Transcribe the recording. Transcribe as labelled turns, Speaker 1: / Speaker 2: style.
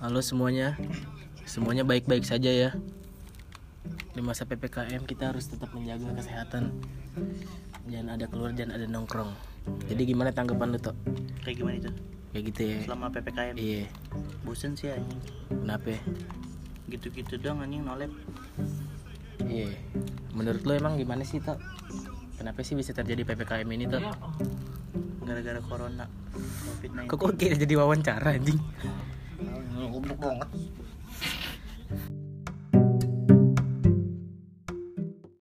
Speaker 1: Halo semuanya, semuanya baik-baik saja ya. Di masa ppkm kita harus tetap menjaga kesehatan. Jangan ada keluar, jangan ada nongkrong. Jadi gimana tanggapan lu Tok?
Speaker 2: kayak gimana itu
Speaker 1: Kayak gitu ya?
Speaker 2: selama ppkm
Speaker 1: Iya.
Speaker 2: bosen sih anjing
Speaker 1: Kenapa? ya?
Speaker 2: gitu-gitu dong anjing nolep
Speaker 1: Iya. Menurut lu emang gimana sih Tok? Kenapa sih bisa terjadi ppkm ini Tok?
Speaker 2: gara-gara corona covid 19
Speaker 1: Kok kok kayak jadi wawancara anjing?
Speaker 2: goblok banget